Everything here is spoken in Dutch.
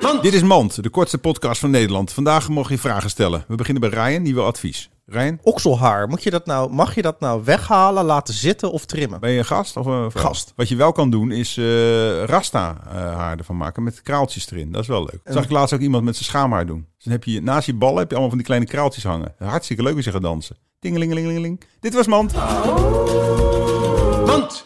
Want- Dit is Mand, de kortste podcast van Nederland. Vandaag mogen je vragen stellen. We beginnen bij Ryan, die wil advies. Ryan, Okselhaar, moet je dat nou, mag je dat nou weghalen, laten zitten of trimmen? ben je een gast of een vrouw? Gast. Wat je wel kan doen is eh, rasta eh, haar ervan maken met kraaltjes erin. Dat is wel leuk. Zag ik laatst ook iemand met zijn schaamhaar doen. Dus dan heb je naast je ballen heb je allemaal van die kleine kraaltjes hangen. Hartstikke leuk als je gaat dansen. Tingelingelingeling. Dit was Mand. Want